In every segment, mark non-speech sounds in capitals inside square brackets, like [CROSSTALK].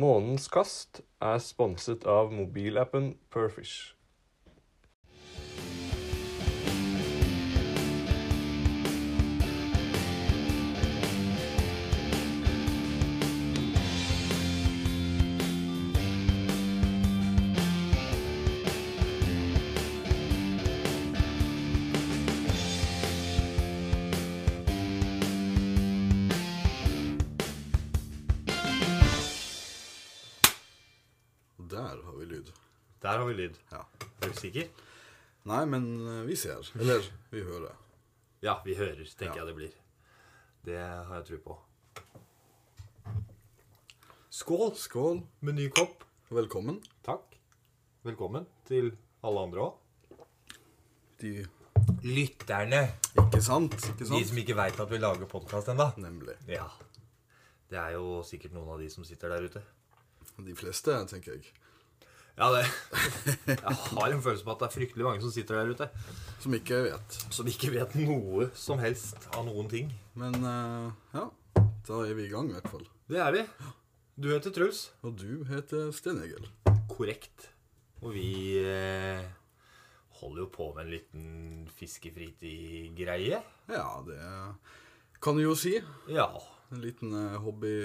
Månens kast er sponset av mobilappen Perfish. Der har vi lyd. Der har vi lyd. Ja. Er du sikker? Nei, men eh, vi ser. Eller vi hører. Ja, vi hører, tenker Ja. jeg det blir. Det har jeg tro på. Skål Skål. med ny kopp. Velkommen. Takk. Velkommen til alle andre òg. De Lytterne. Ikke sant? Ikke De sant? som ikke veit at vi lager podkast ennå. Nemlig. Ja. Det er jo sikkert noen av de som sitter der ute. De fleste, tenker jeg. Ja, [LAUGHS] det Jeg har en følelse på at det er fryktelig mange som sitter der ute, Som ikke vet. som ikke vet noe som helst av noen ting. Men eh, ja, da er vi i gang i hvert fall. Det er vi. Du heter Truls. Og du heter Sten Egil. Korrekt. Og vi eh, holder jo på med en liten fiskefritid-greie. Ja, det kan du jo si. Ja, En liten eh, hobby,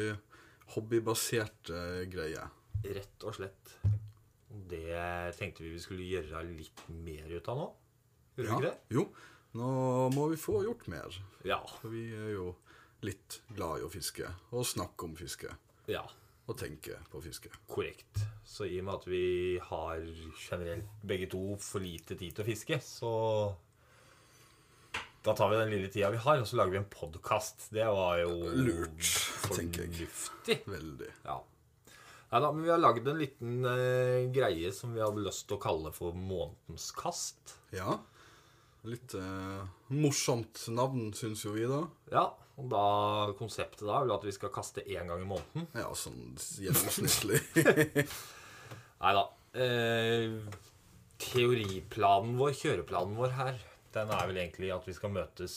hobbybasert eh, greie. rett og slett. Og Det tenkte vi vi skulle gjøre litt mer ut av nå. Gjør vi ikke det? Jo. Nå må vi få gjort mer. Ja. For vi er jo litt glad i å fiske. Og snakke om fiske. ja. Og tenke på fiske. Korrekt. Så i og med at vi har generelt begge to for lite tid til å fiske, så da tar vi den lille tida vi har, og så lager vi en podkast. Det var jo Lurt, tenker jeg. fornuftig. Veldig. Ja. Nei da, men vi har lagd en liten eh, greie som vi hadde lyst til å kalle for Månedens kast. Ja. Litt eh, morsomt navn, syns jo vi, da. Ja, og da Konseptet da er vel at vi skal kaste én gang i måneden. Ja, sånn gjennomsnittlig. [LAUGHS] Nei da. Eh, teoriplanen vår, kjøreplanen vår her, den er vel egentlig at vi skal møtes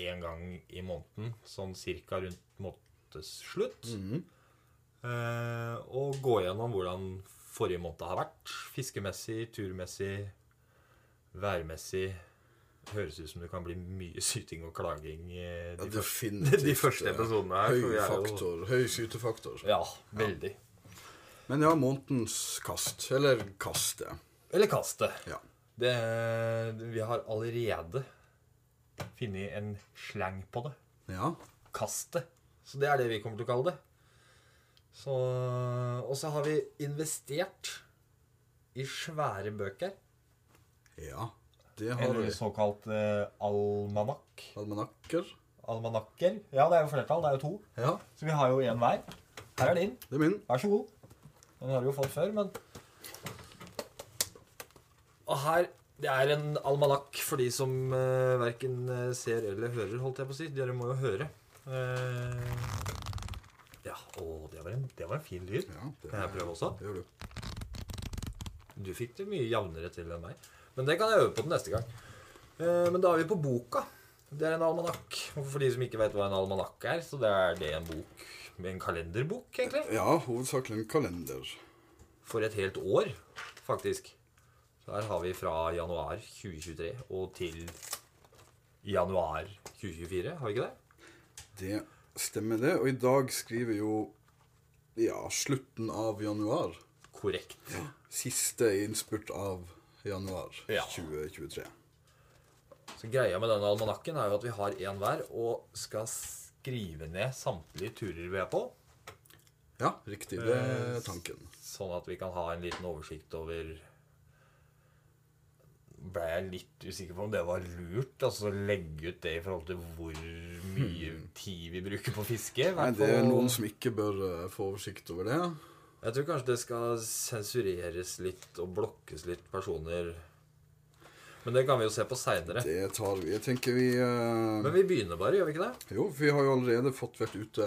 én gang i måneden, sånn cirka rundt månedsslutt. eh, og gå gjennom hvordan forrige måned har vært. Fiskemessig, turmessig, værmessig. Høres ut som det kan bli mye syting og klaging eh, de, første, Definitivt. de første eh, episodene her. for vi Høy er jo- faktor. Høy skytefaktor. Ja, veldig. Men ja, månedens kast. Eller kastet. Eller kaste. Ja. Det, vi har allerede funnet en slang på det. ja. Kaste. Så det er det vi kommer til å kalle det. Så, og så har vi investert i svære bøker. Ja. Det har Eller vi. såkalt eh, almanakk. Almanakker. Almanakker. Ja, det er jo flertall. Det er jo to. Ja, Så vi har jo én hver. Her er din. det er min. Vær så god. Den har du jo fått før, men Og her Det er en almanakk for de som uh, verken eh, ser eller hører, holdt jeg på å si. Dere må jo høre. Eh, ja, å, det var en, det var en fin lyd. Ja, det, Kan jeg prøve også? det gjør du. Du fikk det mye jevnere til enn meg. Men det kan jeg øve på til neste gang. Eh, men da er vi på boka. Det er en almanakk. Og For de som ikke vet hva en almanakk er, så det er det en bok med en kalenderbok, egentlig. Ja, hovedsakelig en kalender. for et helt år, faktisk. Så her har vi fra januar 2023 og til januar 2024, har vi ikke det? Det stemmer, det. Og i dag skriver jo ja, slutten av januar. Korrekt. Siste innspurt av januar Ja. 2023. Så greia med denne almanakken er jo at vi har én hver og skal skrive ned samtlige turer vi er på, Ja, riktig. Det Eh, er tanken. sånn at vi kan ha en liten oversikt over ble jeg litt usikker på om det var lurt altså å legge ut det i forhold til hvor mye tid vi bruker på fiske. i Hmm. Nei, hvert det er fall- noen som ikke bør eh, få oversikt over det. Jeg tror kanskje det skal sensureres litt og blokkes litt personer. Men det kan vi jo se på seinere. Det tar vi. Jeg tenker vi eh, Men vi begynner bare, gjør vi ikke det? Jo, vi har jo allerede fått vært ute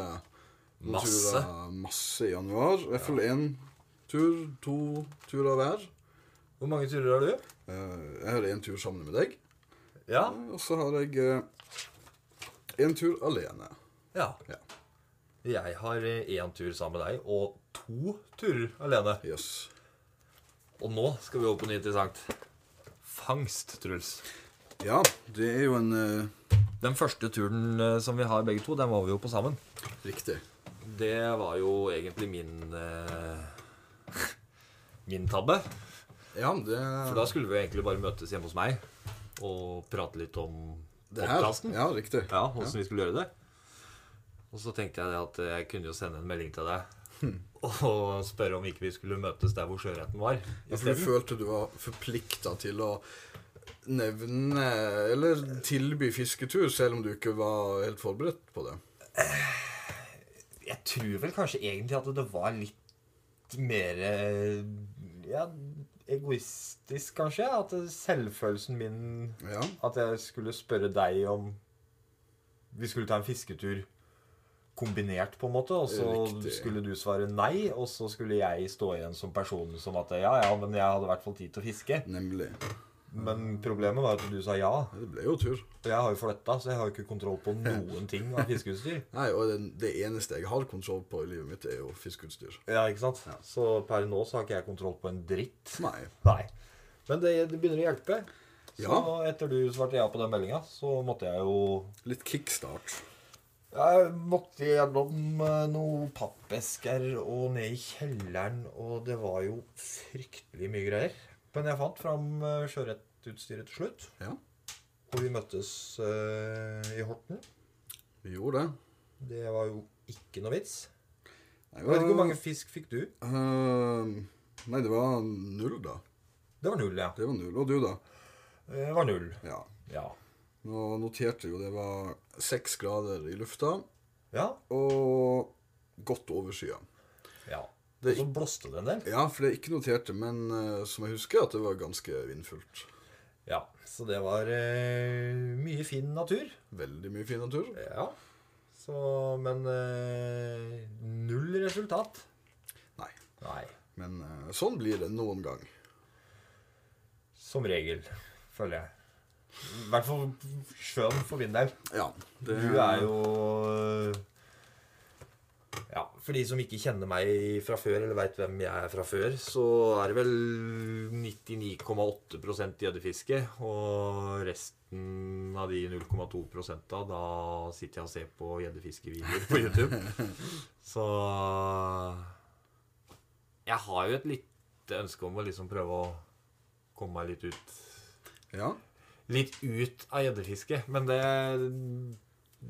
noen Masse. turer, eh, masse i januar. I hvert fall én tur, to turer hver. Hvor mange turer har du? Eh, Jeg har én tur sammen med deg. Ja. Og så har jeg eh, en tur alene. ja. Ja. Jeg har eh, én tur sammen med deg og to turer alene. Jøss. Og nå skal vi over på noe interessant. Fangst, Truls. Ja, det er jo en eh, Den første turen eh, som vi har begge to, den var vi jo på sammen. Riktig. Det var jo egentlig min eh, [LAUGHS] Min tabbe. Ja, det For da skulle vi jo egentlig bare møtes hjemme hos meg og prate litt om det her. podkasten. Ja, riktig. Ja, åssen vi skulle gjøre det. Og så tenkte jeg det at jeg kunne jo sende en melding til deg Hm. og spørre om ikke vi skulle møtes der hvor sjøretten var. Ja, for du isteden. følte du var forplikta til å nevne eller tilby fisketur, selv om du ikke var helt forberedt på det. Jeg tror vel kanskje egentlig at det var litt mer eh, ja, egoistisk, kanskje. At selvfølelsen min Ja, At jeg skulle spørre deg om Vi skulle ta en fisketur kombinert, på en måte. Og så Riktig. skulle du svare nei, og så skulle jeg stå igjen som person som at ja, ja, men jeg hadde i hvert fall tid til å fiske. nemlig. Men problemet var at du sa ja. Ja, Det ble jo tur. Og jeg har jo flytta, så jeg har jo ikke kontroll på noen ting av fiskeutstyr. Nei, og det, det eneste jeg har kontroll på i livet mitt, er jo fiskeutstyr. Ja, ikke sant? Så per nå så har ikke jeg kontroll på en dritt. Nei. Nei. Men det, det begynner å hjelpe. Så Ja. etter du svarte ja på den meldinga, så måtte jeg jo Litt kickstart. Jeg måtte gjennom eh, noen pappesker og ned i kjelleren, og det var jo fryktelig mye greier. Men jeg fant fram eh, sjørettutstyret til slutt, Ja, og vi møttes eh, i Horten. vi gjorde det. Det var jo ikke noe vits. Nei, Jeg vet ikke hvor mange fisk fikk du? Ehm, nei, det var null, da. Det var null, ja. Eh, Det var null. Og du, da? Det var null. Ja. Ja. Nå noterte jeg jo det var seks grader i lufta Ja. og godt over skya. ja. Og Det- så blåste det en del. Ja, for det er ikke noterte, men eh, som jeg husker, at det var ganske vindfullt. Ja. Så det var eh, mye fin natur. Veldig mye fin natur. Ja. Så Men eh, null resultat. Nei. Nei. Men eh, sånn blir det noen gang. Som regel, føler jeg. I hvert fall sjøen for min del. Ja. Du er jo eh, Ja, for de som ikke kjenner meg fra før, eller veit hvem jeg er fra før, så er det vel 99,8 gjeddefiske. Og resten av de 0,2 da, da sitter jeg og ser på gjeddefiskevideoer på YouTube. Så jeg har jo et lite ønske om å liksom prøve å komme meg litt ut Ja. litt ut av gjeddefiske. Men det,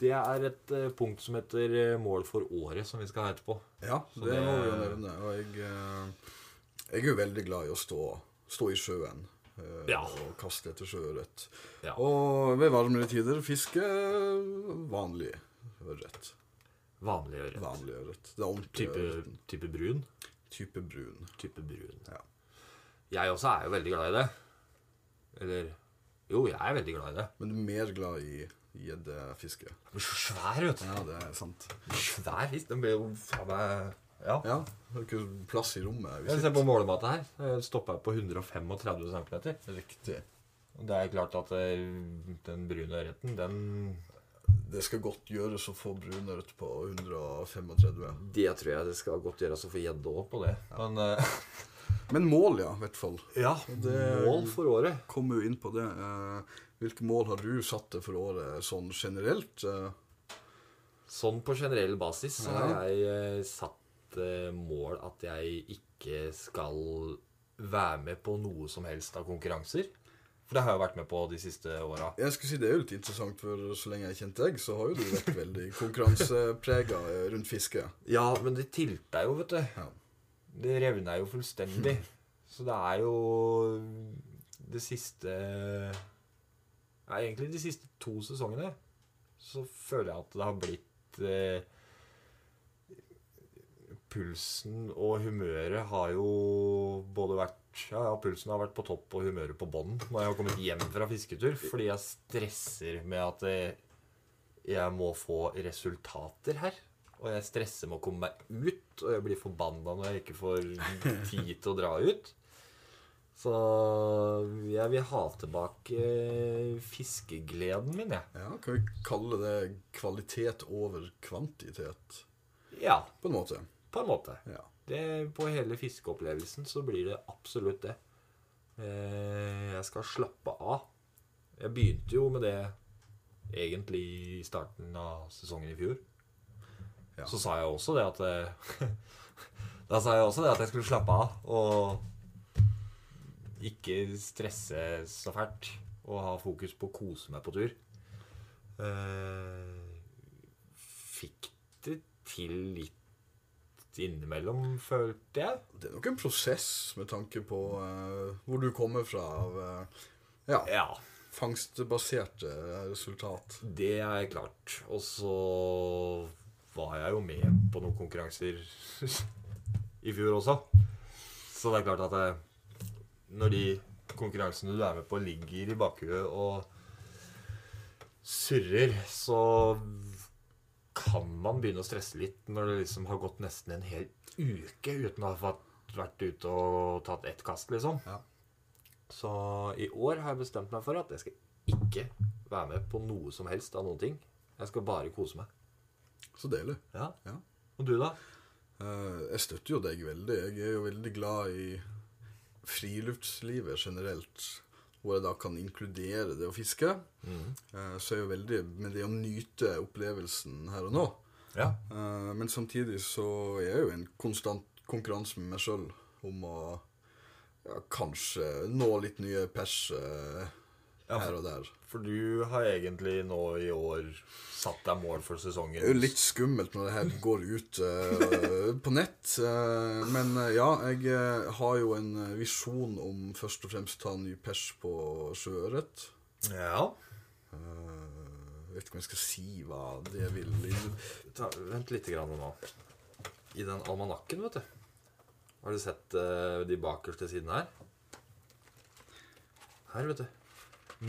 det er et eh, punkt som heter eh, mål for året, som vi skal ha etterpå. ja Så det det- må vi jo nevne. Og jeg, eh, jeg er jo veldig glad i å stå, stå i sjøen. eh, Ja. Og kaste etter sjøørret. Ja. Og ved varmere tider fiske vanlig ørret. Vanlig øre. Vanlig ørret. Det er ordentlig Type, ørret. type brun. Type brun. Type brun. Ja. Jeg også er jo veldig glad i det. Eller Jo, jeg er veldig glad i det. Men du er mer glad i gjeddefiske. Men så svær, vet du. Ja, det er sant. Svær fisk. Den ble jo faen meg Ja. Ja, det er ikke plass i rommet. Jeg ser på målematet her. Jeg Stoppa på 135 cm. Riktig. Det er klart at eh, den brune ørreten, den Det skal godt gjøres å få brunørret på 135. Det tror jeg det skal godt gjøres å få gjedde òg på det. Men eh, [LAUGHS] Men mål, ja, i hvert fall. ja, det- mål for året. Kommer jo inn på det. eh, Hvilke mål har du satt deg for året sånn generelt? Eh, Sånn på generell basis så Ja. har jeg eh, satt eh, mål at jeg ikke skal være med på noe som helst av konkurranser. For det har jeg jo vært med på de siste åra. Jeg skulle si Det er jo litt interessant, for så lenge jeg kjente deg, så har jo du vært veldig [LAUGHS] konkurranseprega eh, rundt fiske. Ja, men det tilta jo, vet du. Ja. Det revna jo fullstendig. Så det er jo det siste Ja, egentlig de siste to sesongene så føler jeg at det har blitt eh, Pulsen og humøret har jo både vært Ja, ja, pulsen har vært på topp og humøret på bånn når jeg har kommet hjem fra fisketur, fordi jeg stresser med at eh, jeg må få resultater her. Og jeg stresser med å komme meg ut, og jeg blir forbanna når jeg ikke får tid til å dra ut. Så jeg vil ha tilbake fiskegleden min, jeg. Ja, Kan vi kalle det kvalitet over kvantitet? Ja, på en måte. på en måte. Ja. Det, på hele fiskeopplevelsen så blir det absolutt det. Eh, jeg skal slappe av. Jeg begynte jo med det egentlig i starten av sesongen i fjor. Ja. Så sa jeg også det at eh, [LAUGHS] Da sa jeg også det at jeg skulle slappe av og ikke stresse så fælt. Og ha fokus på å kose meg på tur. Eh, fikk det til litt innimellom, følte jeg. Det er nok en prosess med tanke på eh, hvor du kommer fra av eh, ja, Ja, fangstbaserte resultat. det er klart. Og så var jeg jo med på noen konkurranser [LAUGHS] i fjor også. Så det er klart at eh, når de konkurransene du er med på, ligger i bakhuet og surrer, så kan man begynne å stresse litt når det liksom har gått nesten en hel uke uten å ha fått- vært ute og tatt ett kast, liksom. Ja. Så i år har jeg bestemt meg for at jeg skal ikke være med på noe som helst av noen ting. Jeg skal bare kose meg. Så deilig. Ja. Ja. Og du, da? Eh, jeg støtter jo deg veldig. Jeg er jo veldig glad i friluftslivet generelt, hvor jeg da kan inkludere det å fiske. Eh, så er jeg jo veldig med det å nyte opplevelsen her og nå. Ja. Eh, men samtidig så er jeg jo i en konstant konkurranse med meg sjøl om å ja, kanskje nå litt nye pers eh, Ja, for- her og der. For du har egentlig nå i år satt deg mål for sesongen. Det er jo litt skummelt når det her går ut eh, på nett. eh, men eh, ja, jeg eh, har jo en eh, visjon om først og fremst ta en ny pers på sjøørret. Ja. Eh, vet ikke om jeg skal si hva det vil Ta, vent litt grann nå. I den almanakken, vet du. Har du sett eh, de bakerste sidene her? Her, vet du.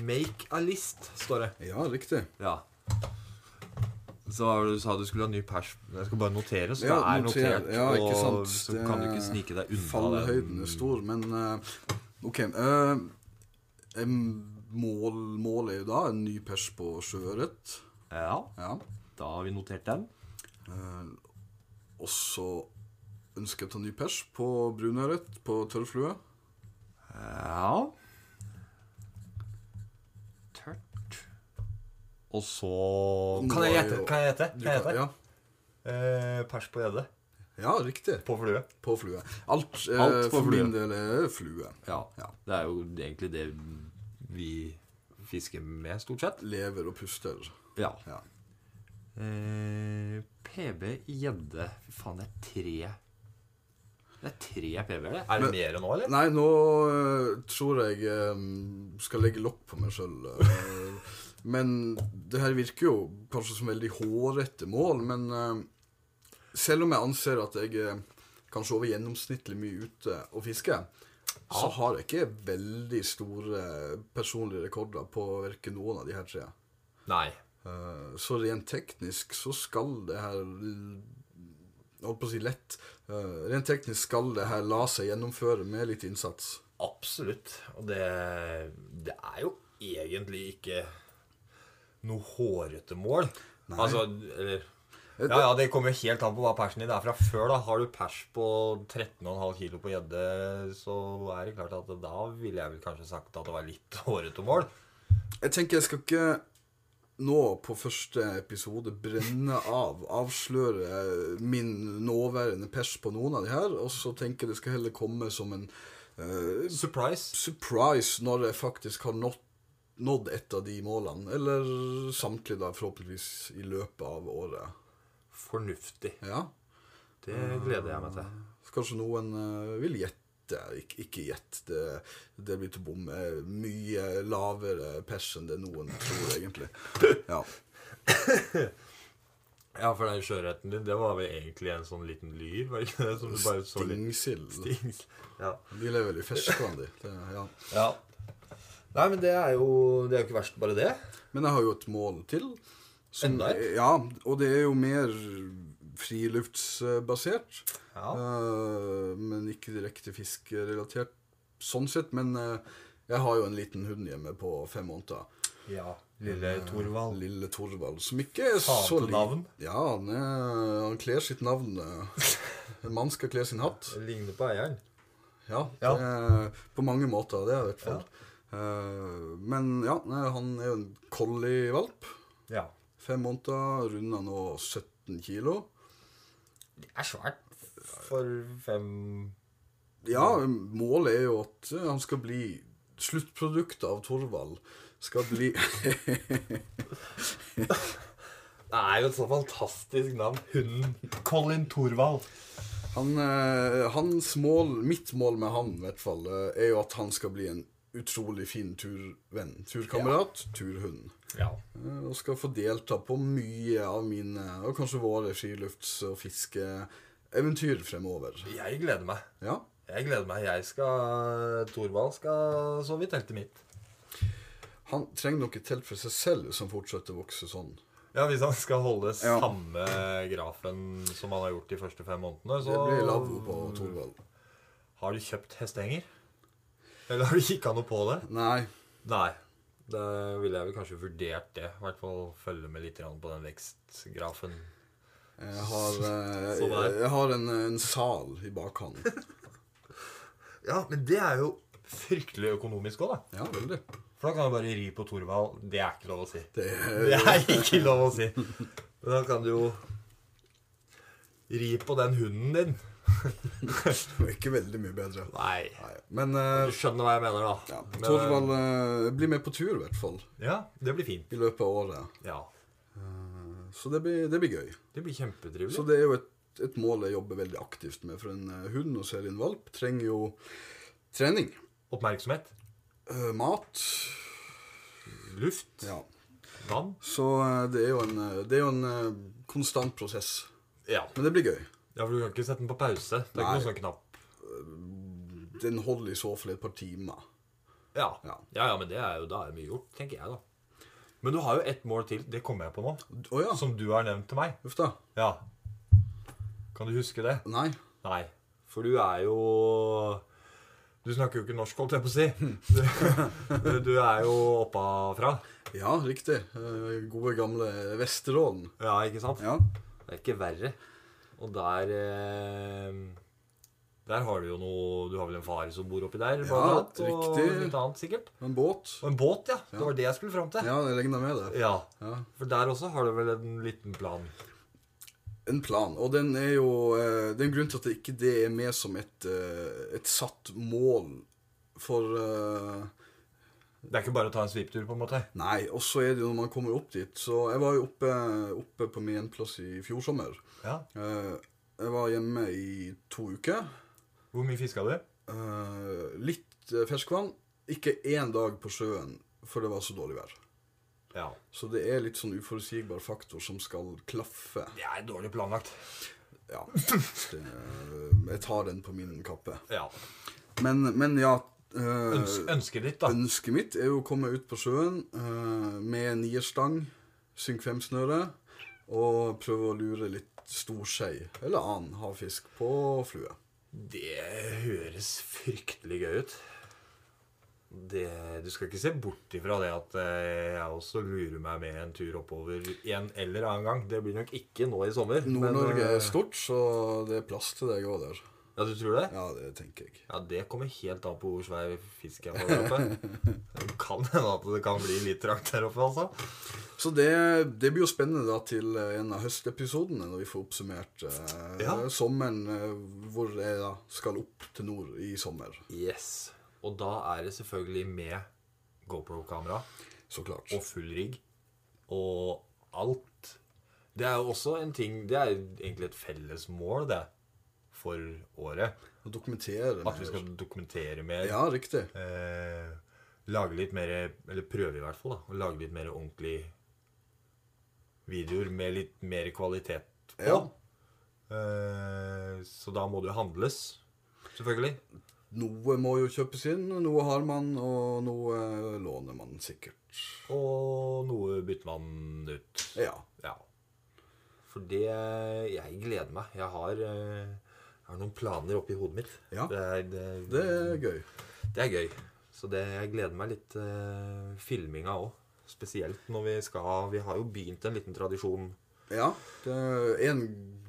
Make a list, står det. Ja, riktig. Ja. Så var det du sa du skulle ha ny pers. Jeg skal bare notere, så Ja, det er noter. notert. Ja, ikke sant. Og så kan du Det- ikke snike deg unna Fallhøyden er stor, men eh, OK. eh, em, mål, målet er jo da en ny pers på sjøørret. Ja, Ja. da har vi notert den. Eh, og så ønsker jeg å ta ny pers på brunørret på tørrflue. Ja. Tørt. Og så Kan jeg gjette? Kan jeg gjette? Du Kan jeg kan- gjette? Ja. Eh, pers på gjedde. ja, riktig. På flue. På flue. Alt, eh, Alt på for flue. min del er flue. Ja. Ja. Det er jo egentlig det vi fisker med, stort sett. Lever og puster. Ja. Ja. Eh, PB gjedde. Fy faen, det er tre Det er tre PB-er, det. Er det mer nå, eller? Nei, nå eh, tror jeg eh, skal legge lokk på meg sjøl. men det her virker jo kanskje som veldig hårete mål, men eh, selv om jeg anser at jeg er kanskje over gjennomsnittlig mye ute og fisker, så har jeg ikke veldig store eh, personlige rekorder på verken noen av de her tre. Nei. Eh, Så rent teknisk så skal det her l- Holdt på å si lett. Eh, Rent teknisk skal det her la seg gjennomføre med litt innsats. Absolutt. Og det, det er jo egentlig ikke noe hårete mål. Altså, eller Ja, ja, det kommer jo helt an på hva persen din er fra før. da Har du pers på 13,5 kilo på gjedde, så er det klart at da ville jeg vel kanskje sagt at det var litt hårete mål. Jeg tenker jeg skal ikke nå på første episode brenne av, avsløre min nåværende pers på noen av de her, og så tenker jeg det skal heller komme som en eh, Surprise. surprise når jeg faktisk har nådd, nådd et av de målene. Eller samtlige, da, forhåpentligvis i løpet av året. Fornuftig. Ja. Det gleder jeg meg til. Så Kanskje noen eh, vil gjette. Ikke, ikke gjett, det, det blir til bom. Eh, Mye lavere pers enn det noen tror, egentlig. Ja. Ja, for den sjøørreten din, det var vel egentlig en sånn liten lyr? var det ikke det? Som du bare så litt Stingsild. stings. Ja. De lever vel i ferskvann, de. Det, ja. ja. Nei, men det er jo Det er jo ikke verst, bare det. Men jeg har jo et mål til. Enda et? Ja, og det er jo mer friluftsbasert. Ja. Eh, men ikke direkte fiskerelatert sånn sett. Men eh, jeg har jo en liten hund hjemme på fem måneder. ja. Lille Thorvald. Lille Thorvald, som ikke er Faen så til navn. Ja, han, er, han kler sitt navn. eh. En mann skal kle sin hatt. Ligner på eieren. Ja, Ja. Det er, på mange måter, det er i hvert fall. Eh, men ja, nei, han er jo en collie-valp. Ja. Fem måneder, runder nå 17 kilo. Det er svært for fem Ja, målet er jo at eh, han skal bli Sluttproduktet av Thorvald skal bli [LAUGHS] Det er jo et så fantastisk navn. Hunden Colin Thorvald. han, eh, Hans mål, mitt mål med han i hvert fall, eh, er jo at han skal bli en utrolig fin turvenn. Turkamerat, turhund. Ja. Eh, Og skal få delta på mye av mine, og kanskje våre, skilufts- og fiskeeventyr fremover. Jeg gleder meg. Ja. Jeg gleder meg. Jeg skal Thorvald skal sove i teltet mitt. Han trenger nok et telt for seg selv som fortsetter å vokse sånn. Ja, Hvis han skal holde Ja. samme grafen som han har gjort de første fem månedene, Det blir lavvo på så Thorvald. Har du kjøpt hestehenger? Eller har du kikka noe på det? Nei. Nei. Da ville jeg vel kanskje vurdert det. I hvert fall følge med litt grann på den vekstgrafen. Jeg har, eh, Sånn er jeg, det. jeg har en, en sal i bakhånd. Ja, men det er jo fryktelig økonomisk òg, da. Ja, veldig. For da kan du bare ri på Thorvald. Det er ikke lov å si. Det er, [LAUGHS] Det er ikke lov å si. Men da kan du jo ri på den hunden din. jo ikke veldig mye bedre. Nei. Nei. Men Du eh, skjønner hva jeg mener, da. ja, Men- Thorvald eh, blir med på tur, i hvert fall, Ja, det blir fint. i løpet av året. Eh, Ja. Så det blir, det blir gøy. Det blir Så kjempetrivelig. det er jo et, et mål jeg jobber veldig aktivt med, for en eh, hund, og særlig en valp, trenger jo trening. Oppmerksomhet. eh, mat. Luft. Ja. Vann. Så eh, det er jo en, eh, det er jo en eh, konstant prosess. Ja. Men det blir gøy. ja, for du kan ikke sette den på pause. Det er ikke Nei. noe sånn knapp. Den holder i så fall et par timer. Ja. ja, Ja. ja, men det er jo da er det mye gjort, tenker jeg, da. Men du har jo ett mål til. Det kommer jeg på nå. Å ja. Som du har nevnt til meg. Uff da. Ja. Kan du huske det? Nei. Nei. For du er jo Du snakker jo ikke norsk, holdt jeg på å si. Du, [LAUGHS] du er jo oppafra. Ja, riktig. Eh, Gode, gamle Vesterålen. Ja, ikke sant? Ja. Det er ikke verre. Og der eh, Der har du jo noe Du har vel en far som bor oppi der? blant Ja, annet, og riktig. litt annet, sikkert. En båt. Og en båt, ja. Det var det jeg skulle fram til. Ja. Ja, jeg regner med det. Ja. For der også har du vel en liten plan. En plan. Og den er jo eh, Det er en grunn til at det ikke det er med som et, eh, et satt mål for eh, Det er ikke bare å ta en sviptur, på en måte. Nei. Og så er det jo når man kommer opp dit Så jeg var jo oppe, oppe på min hjemplass i fjor sommer. Ja. Eh, Jeg var hjemme i to uker. Hvor mye fiska du? Eh, Litt eh, ferskvann. Ikke én dag på sjøen, for det var så dårlig vær. Ja. Så det er litt sånn uforutsigbar faktor som skal klaffe. Det er dårlig planlagt. Ja. Det, eh, jeg tar den på min kappe. Ja. Men, men ja eh, Øns ønsket ditt, da. Ønsket mitt er jo å komme ut på sjøen eh, med nierstang, synk femsnøre, og prøve å lure litt storskei eller annen havfisk på flue. Det høres fryktelig gøy ut. Det, du skal ikke se bort ifra det at eh, jeg også lurer meg med en tur oppover en eller annen gang. Det blir nok ikke nå i sommer. men, Nord-Norge eh, er stort, så det er plass til deg òg der. Ja, du tror det? Ja, det tenker jeg. Ja, Det kommer helt an på hvor svær fisk jeg får der oppe. Det kan hende at det kan bli litt trangt der oppe, altså. Så det, det blir jo spennende da til en av høstepisodene, når vi får oppsummert eh, Ja. sommeren, eh, hvor jeg da skal opp til nord i sommer. Yes. Og da er det selvfølgelig med GoPro-kamera. Så klart. og full rigg og alt. Det er jo også en ting Det er jo egentlig et felles mål, det, for året. Og dokumentere. At vi mer. skal dokumentere mer. Ja, riktig. Eh, lage litt mer Eller prøve i hvert fall, da. Å lage litt mer ordentlige videoer med litt mer kvalitet på. Ja. Eh, så da må det jo handles, selvfølgelig. Noe må jo kjøpes inn, noe har man, og noe eh, låner man sikkert. Og noe bytter man ut. Ja. Ja. For det Jeg gleder meg. Jeg har, eh, jeg har noen planer oppi hodet mitt. Ja. Det, er, det, Det er gøy. det er gøy. Så det, jeg gleder meg litt. Uh, eh, filminga òg. Spesielt når vi skal Vi har jo begynt en liten tradisjon. Ja. Det er en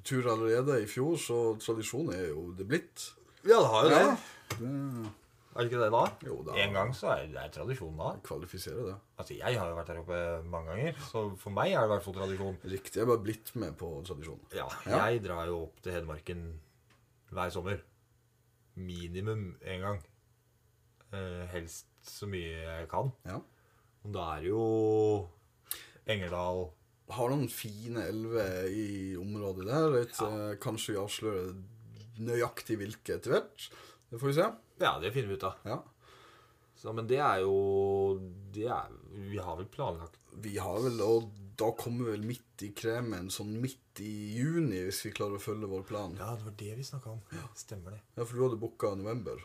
tur allerede i fjor, så tradisjon er jo det blitt. Ja, det har jo Ja. det. det Er det ikke det da? Jo da. En gang så er det er tradisjon da. kvalifiserer det. Altså, jeg har jo vært der oppe mange ganger, så for meg er det i hvert fall tradisjon. Riktig. Jeg er bare blitt med på tradisjonen. Ja, Ja. jeg drar jo opp til Hedmarken hver sommer. Minimum én gang. Eh, helst så mye jeg kan. Ja. Og da er det jo Engerdal Har noen fine elver i området der. Vet, eh, Kanskje vi avslører nøyaktig hvilke etter hvert. Det får vi se. Ja, det finner vi ut av. Ja. Så, men det er jo det er, Vi har vel planlagt Vi har vel, og da kommer vi vel midt i kremen, sånn midt i juni, hvis vi klarer å følge vår plan. Ja, det var det vi snakka om. Stemmer det. Ja, for du hadde booka november.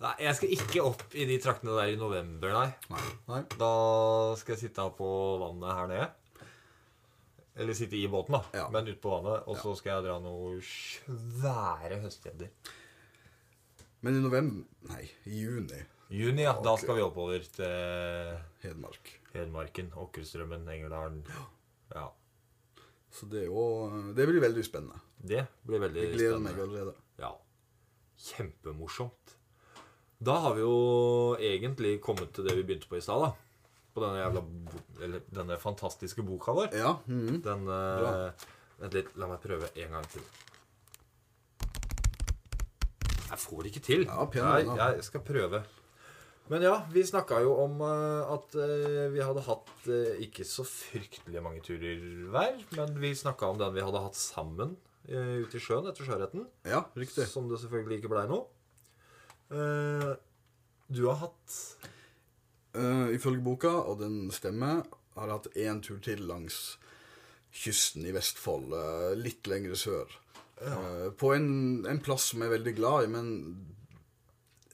Nei, jeg skal ikke opp i de traktene der i november, nei. Nei. Nei. Da skal jeg sitte på vannet her nede. Eller sitte i båten, da, Ja. men ute på vannet. Og så skal jeg dra noen svære høstgjeder. Men i november Nei, i juni. Juni, ja. Da skal vi oppover til Hedmark. Hedmarken, Åkkerstrømmen, Engerdalen. Ja. Så det er jo eh, Det blir veldig spennende. Det blir veldig Jeg gleder meg spennende. allerede. Ja. Kjempemorsomt. Da har vi jo egentlig kommet til det vi begynte på i stad, da. På denne jævla bo- Eller denne fantastiske boka vår. Ja. mhm. Den Bra. eh, Vent litt, la meg prøve en gang til. Jeg får det ikke til. Ja, pen jeg, hånd, da. jeg skal prøve. Men ja, vi snakka jo om eh, at eh, vi hadde hatt eh, ikke så fryktelig mange turer hver. Men vi snakka om den vi hadde hatt sammen eh, ute i sjøen etter sjøretten. ja, riktig. Som det selvfølgelig ikke blei noe. Eh, du har hatt Eh, ifølge boka, og den stemmer, har jeg hatt én tur til langs kysten i Vestfold, eh, litt lengre sør. Eh, på en, en plass som jeg er veldig glad i, men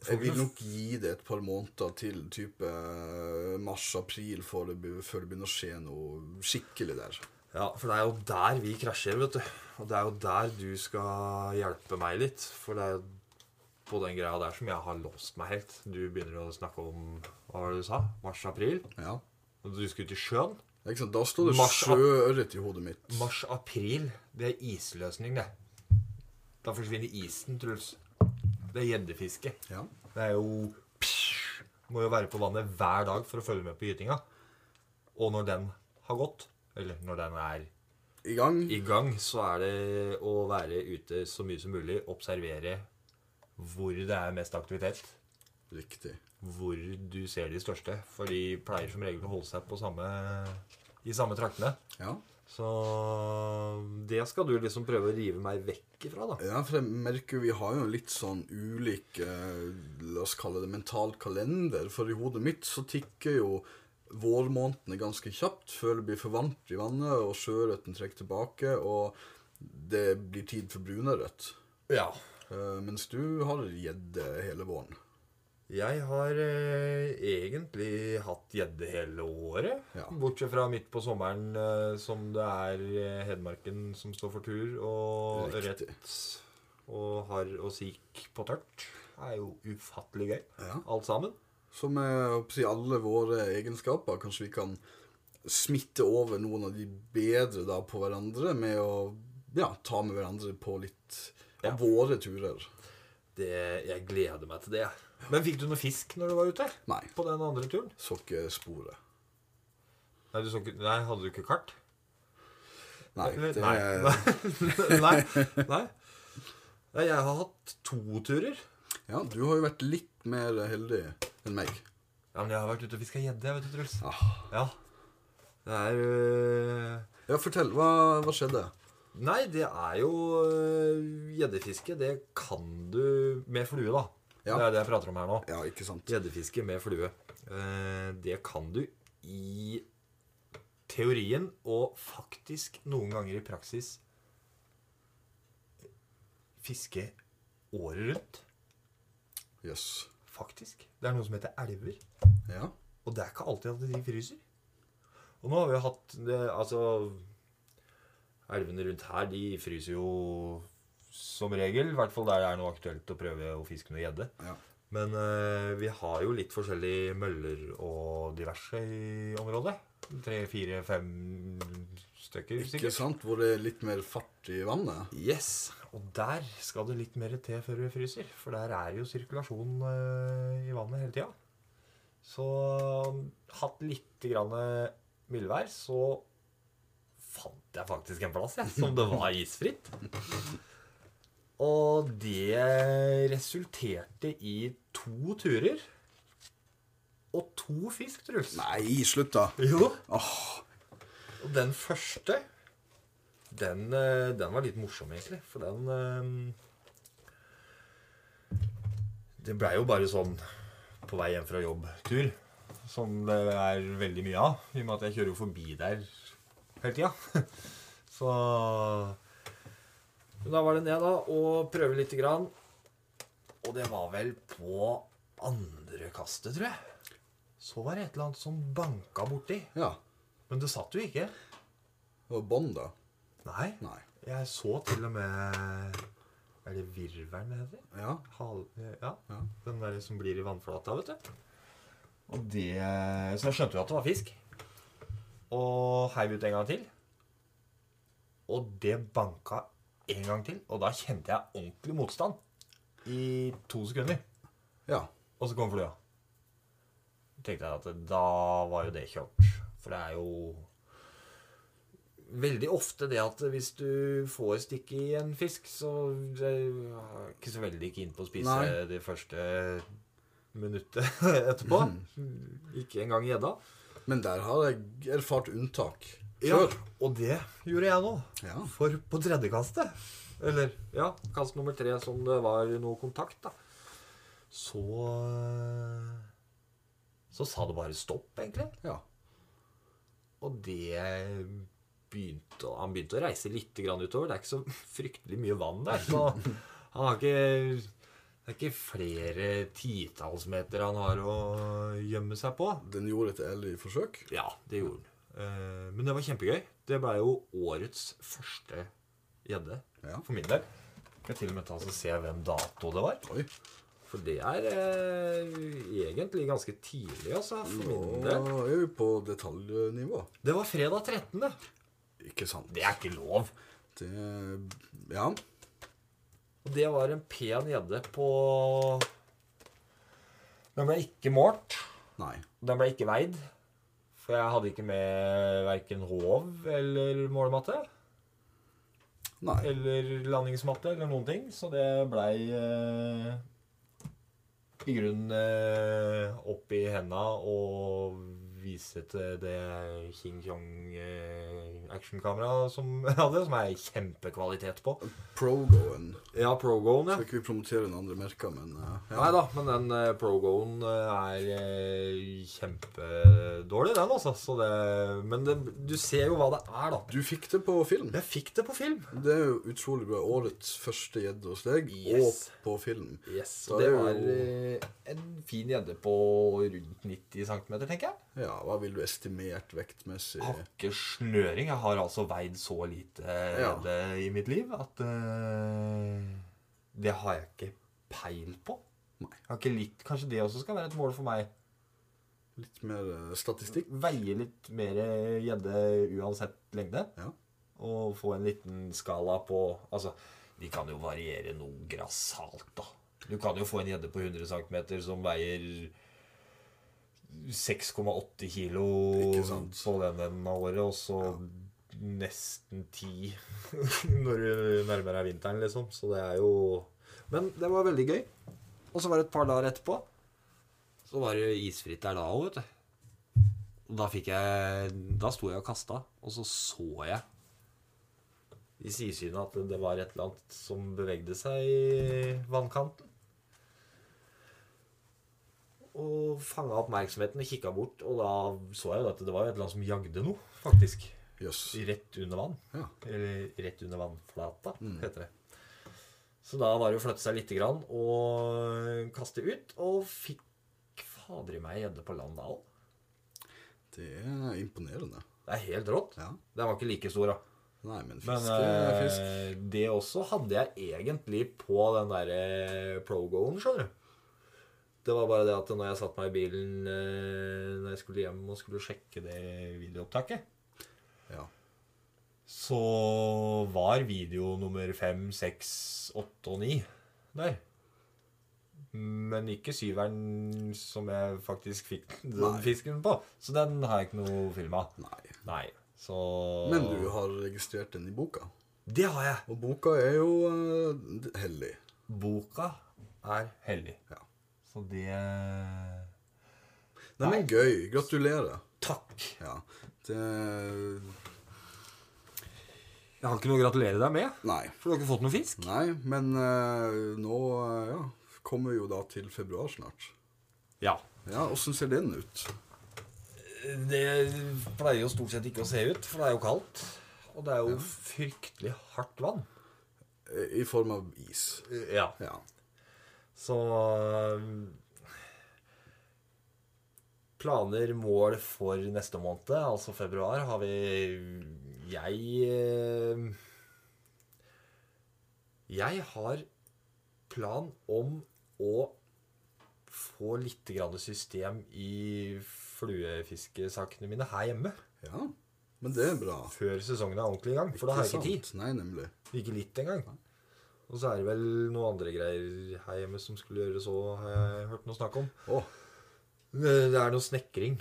jeg vil nok gi det et par måneder til type eh, mars-april før, det be- før det begynner å skje noe skikkelig der. Ja, for det er jo der vi krasjer, vet du. Og det er jo der du skal hjelpe meg litt. For det er jo på den greia der som jeg har låst meg helt. Du begynner å snakke om Hva var det du sa? Mars-april? Ja. Og Du skulle til sjøen? Det er Ikke sant? Da står det Mars- sjøørret i hodet mitt. Mars-april, det er isløsning, det. Da forsvinner isen, Truls. Det er gjeddefiske. Ja. Det er jo Må jo være på vannet hver dag for å følge med på gytinga. Og når den har gått, eller når den er I gang. i gang så er det å være ute så mye som mulig, observere hvor det er mest aktivitet, Riktig. hvor du ser de største, for de pleier som regel å holde seg på samme, i samme traktene. Ja. Så det skal du liksom prøve å rive meg vekk ifra, da. Ja, for jeg merker jo vi har jo en litt sånn ulik eh, La oss kalle det mental kalender. For i hodet mitt så tikker jo vårmånedene ganske kjapt før det blir for varmt i vannet, og sjøørreten trekker tilbake, og det blir tid for brunørret. Ja. Eh, mens du har gjedde hele våren. Jeg har eh, egentlig hatt gjedde hele året. Ja. Bortsett fra midt på sommeren, eh, som det er eh, Hedmarken som står for tur, og Riktig. ørret og harr og sik på tørt. Det er jo ufattelig gøy, Ja. alt sammen. Så med jeg håper å si, alle våre egenskaper kanskje vi kan smitte over noen av de bedre da på hverandre med å ja, ta med hverandre på litt av Ja. våre turer. Det, jeg gleder meg til det. Men fikk du noe fisk når du var ute? Nei. På den andre turen? Så ikke sporet. Nei, du så ikke, nei hadde du ikke kart? Nei, Eller- det nei. er, nei. [LAUGHS] nei. Nei, Jeg har hatt to turer. ja, du har jo vært litt mer heldig enn meg. Ja, men jeg har vært ute og fiska gjedde, vet du, Truls. Ah. Ja. Det er øh, Ja, fortell. Hva, hva skjedde? Nei, det er jo øh, gjeddefiske. Det kan du med flue, da. Ja. Det er det jeg prater om her nå. Ja, ikke sant? Gjeddefiske med flue. Eh, det kan du i teorien og faktisk noen ganger i praksis fiske året rundt. Jøss. Faktisk. Det er noe som heter elver. Yes. Ja. Og det er ikke alltid at de fryser. Og nå har vi jo hatt det, Altså Elvene rundt her, de fryser jo som regel. I hvert fall der det er noe aktuelt å prøve å fiske noe gjedde. Ja. Men eh, vi har jo litt forskjellige møller og diverse i området. Tre, fire, fem stykker, Ikke sikkert. sant? Hvor det er litt mer fart i vannet? Yes, Og der skal det litt mer til før vi fryser, for der er jo sirkulasjon eh, i vannet hele tida. Så um, hatt litt grann eh, mildvær, så fant jeg faktisk en plass jeg, som det var isfritt. Og det resulterte i to turer og to fisk, Truls. Nei, slutt, da. Jo. Åh. Og den første, den, eh, den var litt morsom, egentlig. For den eh, Det blei jo bare sånn på vei hjem fra jobb-tur. Som det er veldig mye av, i og med at jeg kjører jo forbi der hele tida. [LAUGHS] Så Men da var det ned, da, og prøve lite grann. Og det var vel på andre kastet, tror jeg. Så var det et eller annet som banka borti. Ja. Men det satt jo ikke. Det var bånd, da. Nei. Nei. Jeg så til og med Er det virvelen det heter? Ja. Hal, ja. Ja. Den der som blir i vannflata, vet du. Og det Så jeg skjønte jo at det var fisk. Og heiv ut en gang til. Og det banka en gang til. Og da kjente jeg ordentlig motstand i to sekunder. Ja. Og så kom flua. Tenkte jeg at da var jo det kjørt. For det er jo veldig ofte det at hvis du får stikk i en fisk, så det er ikke så veldig keen på å spise Nei. det første minuttet [LAUGHS] etterpå. Ikke engang gjedda. Men der har jeg erfart unntak. Ja, Før. og det gjorde jeg nå. Ja. For på tredje kastet, eller ja, kast nummer tre som det var noe kontakt, da, så eh, Så sa det bare stopp, egentlig. Ja. Og det begynte å- Han begynte å reise litt grann utover. Det er ikke så fryktelig mye vann der, så han har ikke det er ikke flere titalls meter han har å gjemme seg på. Den gjorde et ærlig forsøk. Ja, det gjorde den. Eh, men det var kjempegøy. Det ble jo årets første gjedde Ja. for min del. Skal jeg til og med ta oss og se hvem dato det var. Oi. For det er eh, egentlig ganske tidlig, altså, for min Nå del. er vi på detaljnivå. Det var fredag 13. Ikke sant. Det er ikke lov. Det Ja. Og det var en pen gjedde på Den ble ikke målt. Nei. Den ble ikke veid. For jeg hadde ikke med verken håv eller målematte. Nei. eller landingsmatte eller noen ting, så det blei eh, i grunnen eh, opp i henda og vise til det King Kong eh, actionkameraet som [LAUGHS] jeg hadde, som er kjempekvalitet på. Progoen. Ja, Progoen, ja. Skal ikke vi promotere noen andre merker, men eh, Nei da, men den eh, Progoen eh, er eh, kjempedårlig, den, altså. Så det, men det, du ser jo hva det er, da. Du fikk det på film. Jeg fikk det på film. Det er jo utrolig bra. Årets første gjedde hos deg, Yes. og på film. Yes, Da og det er var jo- eh, en fin gjedde på rundt 90 cm, tenker jeg. Ja, hva vil du estimert vektmessig? Har ikke snøring. Jeg har altså veid så lite Ja. gjedde i mitt liv at eh, Det har jeg ikke peil på. Nei. Jeg har ikke litt, Kanskje det også skal være et mål for meg. Litt mer eh, statistikk? Veie litt mer eh, gjedde uansett lengde. Ja. Og få en liten skala på Altså, de kan jo variere noe grassat, da. Du kan jo få en gjedde på 100 cm som veier 6,8 kilo Ikke sant. på den enden av året, og så nesten 10 [LAUGHS] når du nærmer deg vinteren, liksom. Så det er jo Men det var veldig gøy. Og så var det et par dager etterpå. Så var det isfritt der da òg, vet du. Og Da fikk jeg Da sto jeg og kasta, og så så jeg i sidesynet at det var et eller annet som bevegde seg i vannkanten. Og fanga oppmerksomheten og kikka bort, og da så jeg jo at det var jo et eller annet som jagde noe, faktisk. Jøss. Rett under vann. Ja. Eller rett under vannflata, heter det. Så da var det å flytte seg lite grann og kaste ut, og fikk fader i meg gjedde på land da òg. Det er imponerende. Det er helt rått. Ja. Den var ikke like stor, da. Nei, men Men fisk er eh, fisk. det også hadde jeg egentlig på den derre progoen, eh, skjønner du. Det var bare det at når jeg satte meg i bilen eh, når jeg skulle hjem og skulle sjekke det videoopptaket, Ja. så var video nummer fem, seks, åtte og ni der. Men ikke syveren som jeg faktisk fikk [LAUGHS] den Nei. fisken på. Så den har jeg ikke noe film av. Nei. Nei. Så Men du har registrert den i boka. Det har jeg! Og boka er jo eh, hellig. Boka er hellig. Ja. Så det Nei, men gøy. Gratulerer. Takk! Ja. Det Jeg har ikke noe å gratulere deg med, Nei. for du har ikke fått noe fisk. Nei, men eh, nå eh, ja, kommer vi jo da til februar snart. Ja. Ja, Åssen ser den ut? Det pleier jo stort sett ikke å se ut, for det er jo kaldt. Og det er jo fryktelig hardt vann. Eh, I form av is. Ja. Ja. Så um, Planer, mål for neste måned, altså februar, har vi Jeg eh, Jeg har plan om å få litt grann system i fluefiskesakene mine her hjemme. ja. Men det er bra. Før sesongen er ordentlig i gang, for da har jeg ikke tid. sant? Nei, nemlig. Ikke litt engang. Og så er det vel noen andre greier her hjemme som skulle gjøres òg, har jeg hørt noe snakk om. Å, Det det er noe snekring.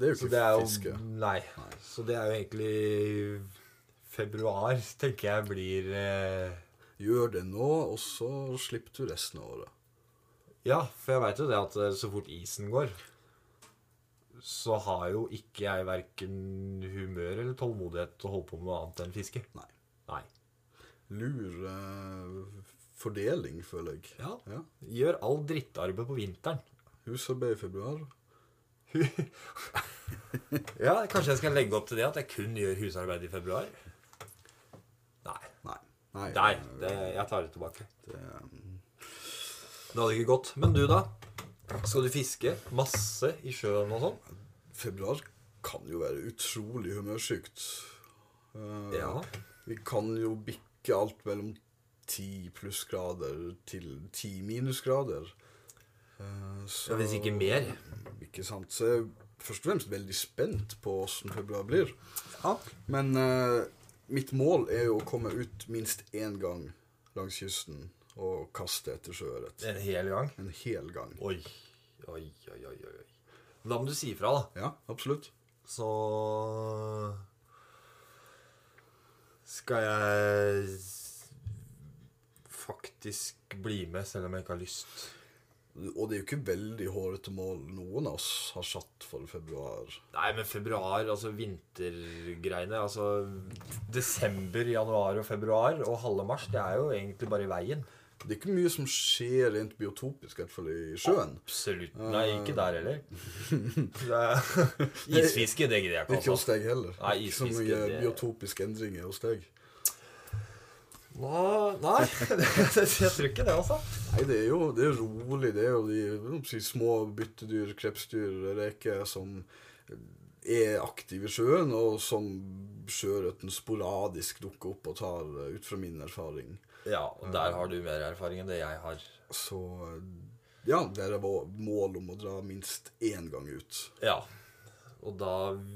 det er jo Så ikke det er jo fiske. Nei. Så det er jo egentlig Februar tenker jeg blir eh, Gjør det nå, og så slipper du resten av året. Ja, for jeg veit jo det at eh, så fort isen går, så har jo ikke jeg verken humør eller tålmodighet til å holde på med noe annet enn fiske. Nei. Nei. Lur eh, fordeling, føler jeg. Ja. Gjør all drittarbeid på vinteren. [LAUGHS] Husarbeid i februar. Ja, Kanskje jeg skal legge opp til det at jeg kun gjør husarbeid i februar? Nei. Nei. Nei. Nei, det, jeg tar det tilbake. det, Eh, Det hadde ikke gått. Men du, da? Skal du fiske masse i sjøen og sånn? februar kan jo være utrolig humørsykt. Eh, Ja. Vi kan jo bikke alt mellom ti plussgrader til ti minusgrader. Eh, Så, Ja, hvis ikke mer. Ikke sant. Så jeg er først og fremst veldig spent på åssen februar blir. Ja. Men eh, mitt mål er jo å komme ut minst én gang langs kysten og kaste etter sjøørret. En hel gang? En hel gang. Oi. Oi, oi, oi. oi. oi. Da må du si ifra, da. Ja, absolutt. Så skal jeg s- faktisk bli med, selv om jeg ikke har lyst. Og det er jo ikke veldig hårete mål noen av oss har satt for februar. Nei, men februar, altså vintergreiene Altså desember, januar og februar og halve mars, det er jo egentlig bare i veien. Det er ikke mye som skjer rent biotopisk, i hvert fall i sjøen. Absolutt. Nei, ikke der heller. Ah. [LAUGHS] Det er- [LAUGHS] Isfiske, det gidder jeg ikke, Ikke hos altså. deg heller. Nei, ikke så isfiske, mye det- biotopiske endringer hos deg. Nå- Nei, [LAUGHS] jeg tror ikke det, altså. Nei, det er jo det er rolig. Det er jo de hva skal jeg si, små byttedyr, krepsdyr, reker som er aktive i sjøen, og som sjøørreten sporadisk dukker opp og tar, eh, ut fra min erfaring. Ja, og der har du mer erfaring enn det jeg har. Så eh, ja, der er vår mål om å dra minst én gang ut. Ja. Og da,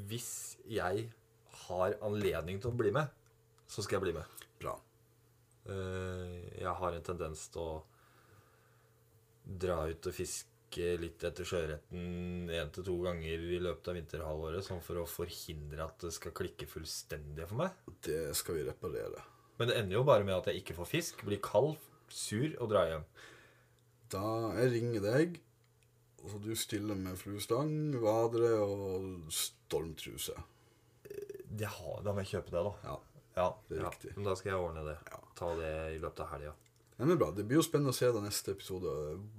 hvis jeg har anledning til å bli med, så skal jeg bli med. Bra. Eh, Jeg har en tendens til å dra ut og fiske litt etter sjøørreten én til to ganger i løpet av vinterhalvåret, sånn for å forhindre at det skal klikke fullstendig for meg. Det skal vi reparere. Men det ender jo bare med at jeg ikke får fisk, blir kald, sur og drar hjem. Da jeg ringer deg, og du stiller med fluestang, vadere og stormtruse. Det har, da må jeg kjøpe det, da. Ja, Ja, Det er ja. riktig. Men da skal jeg ordne det. Ja. Ta det i løpet av helga. Ja, men bra. Det blir jo spennende å se da neste episode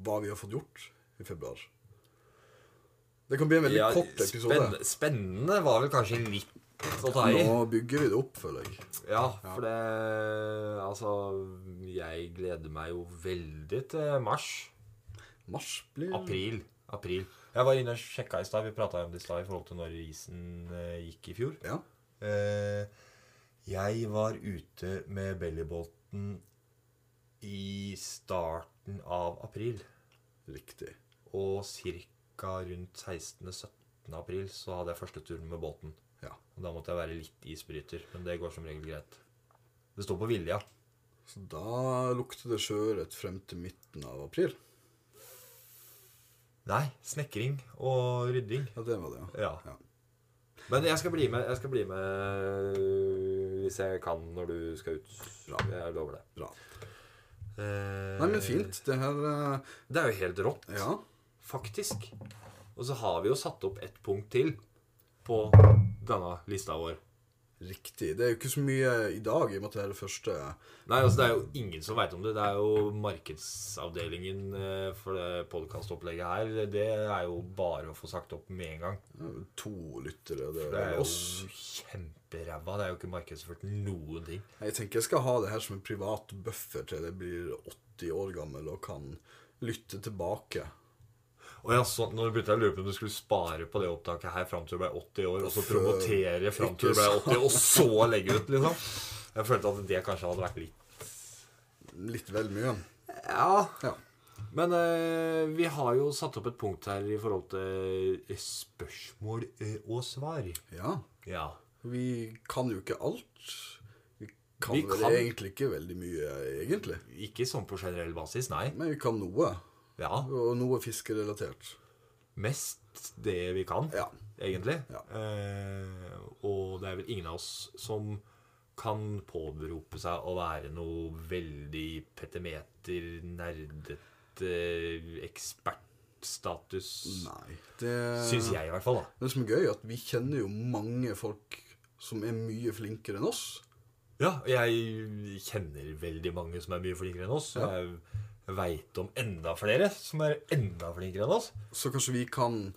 hva vi har fått gjort i februar. Det kan bli en veldig Ja, kort episode. spenn- Spennende var vel kanskje litt å ta i. Nå bygger vi det opp, føler jeg. Ja, for det Altså, jeg gleder meg jo veldig til mars. Mars blir April. April. Jeg var inne og sjekka i stad. Vi prata om det i stad i forhold til når isen eh, gikk i fjor. Ja. Eh, jeg var ute med bellybåten i starten av april. Riktig. Og ca. rundt 16.-17. april så hadde jeg første turen med båten. Ja. Og Da måtte jeg være litt isbryter, men det går som regel greit. Det står på vilja. Så da lukter det sjøørret frem til midten av april. Nei, snekring og rydding. Ja, det var det, ja. Ja. Men jeg skal bli med, jeg skal bli med øh, hvis jeg kan når du skal ut. Jeg lover det. Bra. Eh, Nei, men fint. Det her eh, Det er jo helt rått, Ja. faktisk. Og så har vi jo satt opp ett punkt til på denne lista vår. Riktig. Det er jo ikke så mye i dag, i og med at det her er første Nei, altså Det er jo ingen som veit om det. Det er jo markedsavdelingen eh, for det podkastopplegget her. Det er jo bare å få sagt opp med en gang. eh, to lyttere. Det, Det er er oss. jo kjemperæva. Det er jo ikke markedsført noen ting. Jeg tenker jeg skal ha det her som en privat buffer til jeg blir 80 år gammel og kan lytte tilbake. Og ja, sånn, Nå begynte jeg å lure på om du skulle spare på det opptaket her fram til du ble 80 år, og så Før- promotere fram til du ble 80, og så legge ut, liksom. Jeg følte at det kanskje hadde vært litt Litt vel mye. Ja. Ja. Men eh, vi har jo satt opp et punkt her i forhold til eh, spørsmål eh, og svar. ja. Ja. Vi kan jo ikke alt. Vi kan, Vi vel kan- egentlig ikke veldig mye, egentlig. Ikke sånn på generell basis, nei. Men vi kan noe. Ja. Og noe fiskerelatert. Mest det vi kan. Ja. egentlig. Ja. Eh, og det er vel ingen av oss som kan påberope seg å være noe veldig petimeter, nerdete ekspertstatus. Nei. Det Syns jeg, i hvert fall. da Det som er gøy, er at vi kjenner jo mange folk som er mye flinkere enn oss. Ja, jeg kjenner veldig mange som er mye flinkere enn oss. og Ja. Jeg veit om enda flere som er enda flinkere enn oss. Så kanskje vi kan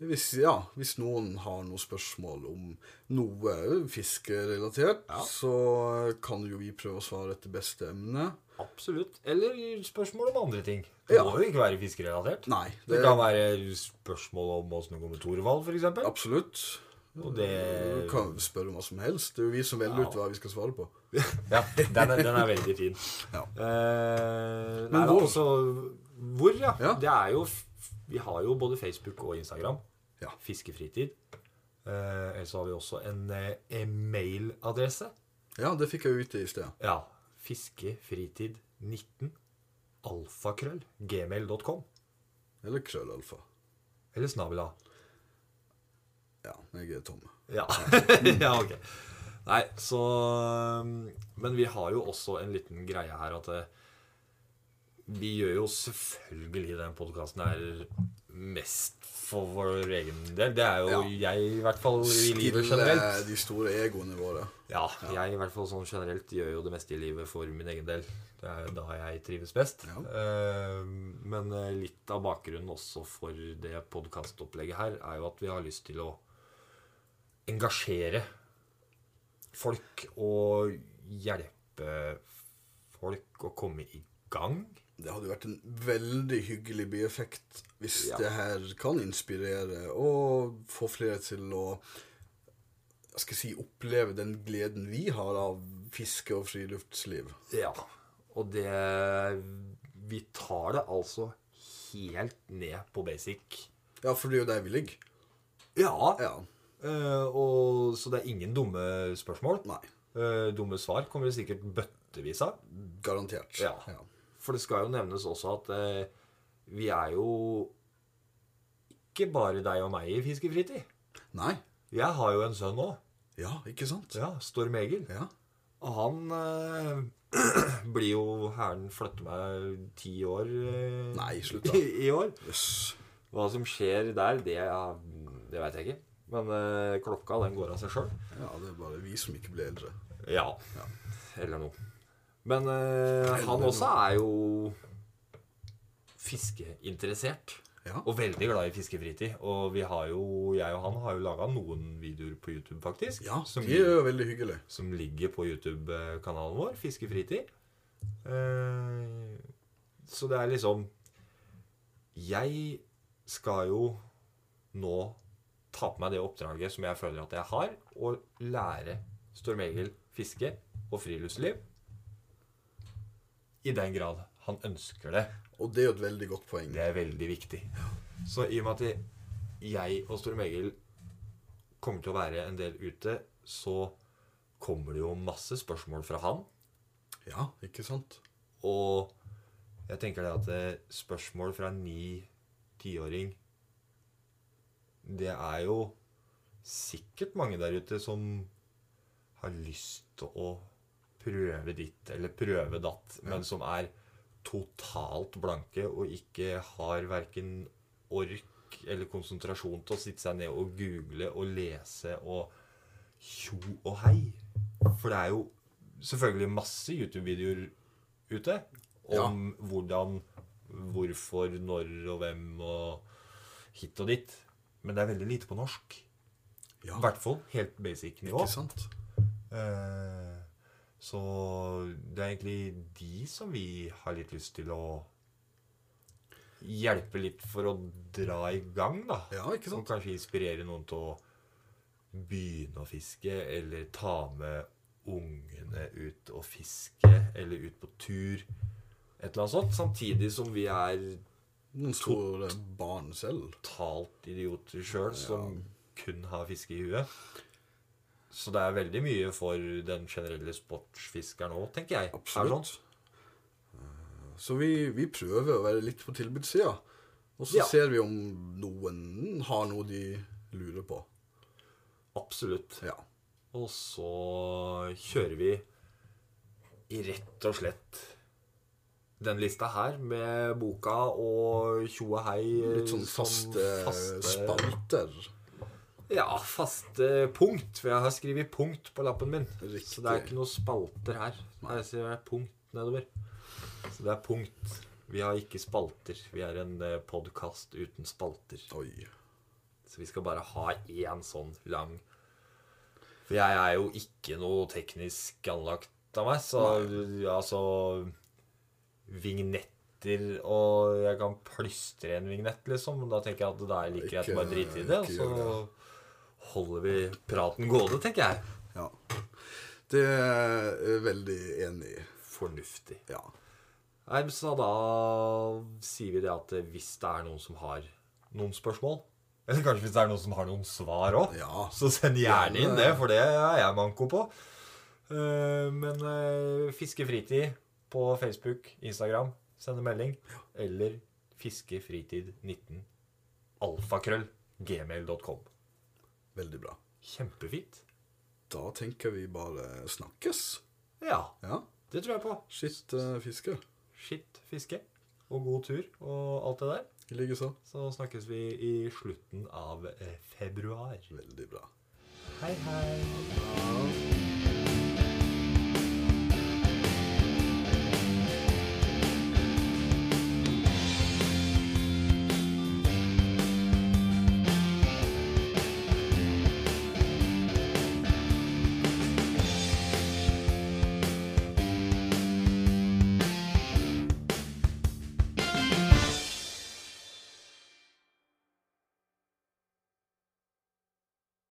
hvis, ja, hvis noen har noen spørsmål om noe fiskerelatert, Ja. så kan jo vi prøve å svare etter beste emne. Absolutt. Eller spørsmål om andre ting. Det Ja. må jo ikke være fiskerelatert. Nei, Det det kan være spørsmål om åssen det går med Thorvald, f.eks. absolutt. Og det- Du kan spørre om hva som helst. Det er jo vi som velger Ja. ut hva vi skal svare på. Ja, den er, den er veldig fin. Ja. Eh, Men nei, da, hvor? altså, hvor, ja. Ja. Det er jo f- Vi har jo både Facebook og Instagram. Ja. Fiskefritid. Eh, ellers har vi også en eh, e-mailadresse. Ja, det fikk jeg jo vite i sted. Ja. Fiskefritid19 alfakrøll gmail.com. Eller krøllalfa. Eller snabel a. Ja, jeg er tom. Ja. [LAUGHS] ja, ok. Nei, så um, Men vi har jo også en liten greie her at eh, vi gjør jo selvfølgelig den podkasten her mest for vår egen del. Det er jo jeg, i hvert fall, i livet generelt. de store egoene våre. Ja, jeg i hvert fall sånn generelt gjør jo det meste i livet for min egen del. Det er jo da jeg trives best. Ja. Eh, Men eh, litt av bakgrunnen også for det podkastopplegget her, er jo at vi har lyst til å engasjere folk og hjelpe folk å komme i gang. Det hadde jo vært en veldig hyggelig bieffekt hvis Ja. det her kan inspirere og få flere til å jeg skal si, oppleve den gleden vi har av fiske og friluftsliv. Ja. Og det Vi tar det altså helt ned på basic. Ja, for det er jo der vi ligger. Ja. Ja. Eh, og, så det er ingen dumme spørsmål. Nei. Eh, dumme svar kommer det sikkert bøttevis av. Garantert. Ja. For det skal jo nevnes også at eh, vi er jo ikke bare deg og meg i fiskefritid. Nei. Jeg har jo en sønn òg. Ja, ikke sant? Ja, Storm Egil. Ja. Og han eh, [CLEARS THROAT] blir jo Hæren flytter meg ti år eh, Nei, slutt da. i, [LAUGHS] i år. Jøss. Hva som skjer der, det, er- det veit jeg ikke. Men eh, klokka, den går av seg sjøl. Ja, det er bare vi som ikke ble eldre. Ja. Eller noe. Men eh, han noe. også er jo fiskeinteressert. Ja. Og veldig glad i fiskefritid. Og vi har jo, jeg og han har jo laga noen videoer på YouTube, faktisk. Ja, som, det er jo veldig hyggelig. som ligger på YouTube-kanalen vår, Fiskefritid. Eh, så det er liksom Jeg skal jo nå ta på meg det oppdraget som jeg føler at jeg har, og lære Storm Egil fiske og friluftsliv. I den grad Han ønsker det. Og det er jo et veldig godt poeng. Det er veldig viktig. Så i og med at jeg og Storm Egil kommer til å være en del ute, så kommer det jo masse spørsmål fra han. Ja, ikke sant? Og jeg tenker det at eh, spørsmål fra en ni tiåring Det er jo sikkert mange der ute som har lyst til å prøve ditt eller prøve datt, men som er totalt blanke og ikke har verken ork eller konsentrasjon til å sitte seg ned og google og lese og tjo og hei. For det er jo selvfølgelig masse YouTube-videoer ute om hvordan, hvorfor, når og hvem og hit og dit. Men det er veldig lite på norsk. Ja, I hvert fall helt basic nivå. ikke sant? Eh, Så det er egentlig de som vi har litt lyst til å hjelpe litt for å dra i gang, da. Ja, ikke Som sant? kanskje inspirerer noen til å begynne å fiske, eller ta med ungene ut og fiske, eller ut på tur. Et eller annet sånt. Samtidig som vi er Noen store barn selv. totalt idioter sjøl, som kun har fiske i huet. Så det er veldig mye for den generelle sportsfiskeren òg, tenker jeg. Er det Absolutt. Eh, Så vi, vi prøver å være litt på tilbudssida. Og så Ja. ser vi om noen har noe de lurer på. Sånn? Absolutt. Ja. Og så kjører vi i rett og slett den lista her med boka og tjo og hei. Litt sånn som faste, spalter. Ja, faste punkt. For jeg har skrevet punkt på lappen min. Så det er Riktig. ikke noen spalter her. Her ser jeg punkt nedover. Så det er punkt. Vi har ikke spalter. Vi er en podkast uten spalter. Oi. Så vi skal bare ha én sånn lang For jeg er jo ikke noe teknisk anlagt av meg, så altså Vignetter og Jeg kan plystre en vignett, liksom. Men da tenker jeg at det er like greit å bare drite i det. Ikke- Og ikke så holder vi praten gående, tenker jeg. Ja. Det er jeg veldig enig i. Fornuftig. Ja. Nei, men så da sier vi det at hvis det er noen som har noen spørsmål Eller kanskje hvis det er noen som har noen svar òg, Ja. så send gjerne inn det, for det er jeg manko på. Eh, Men eh, Fiskefritid på Facebook, Instagram, send en melding. Eller fiskefritid19 alfakrøll gmail.com. Veldig bra. Kjempefint. Da tenker vi bare snakkes. Ja, Ja. det tror jeg på. Skitt uh, fiske. Skitt fiske og god tur og alt det der. I likeså. Så snakkes vi i slutten av eh, februar. Veldig bra. Hei, hei. Ja.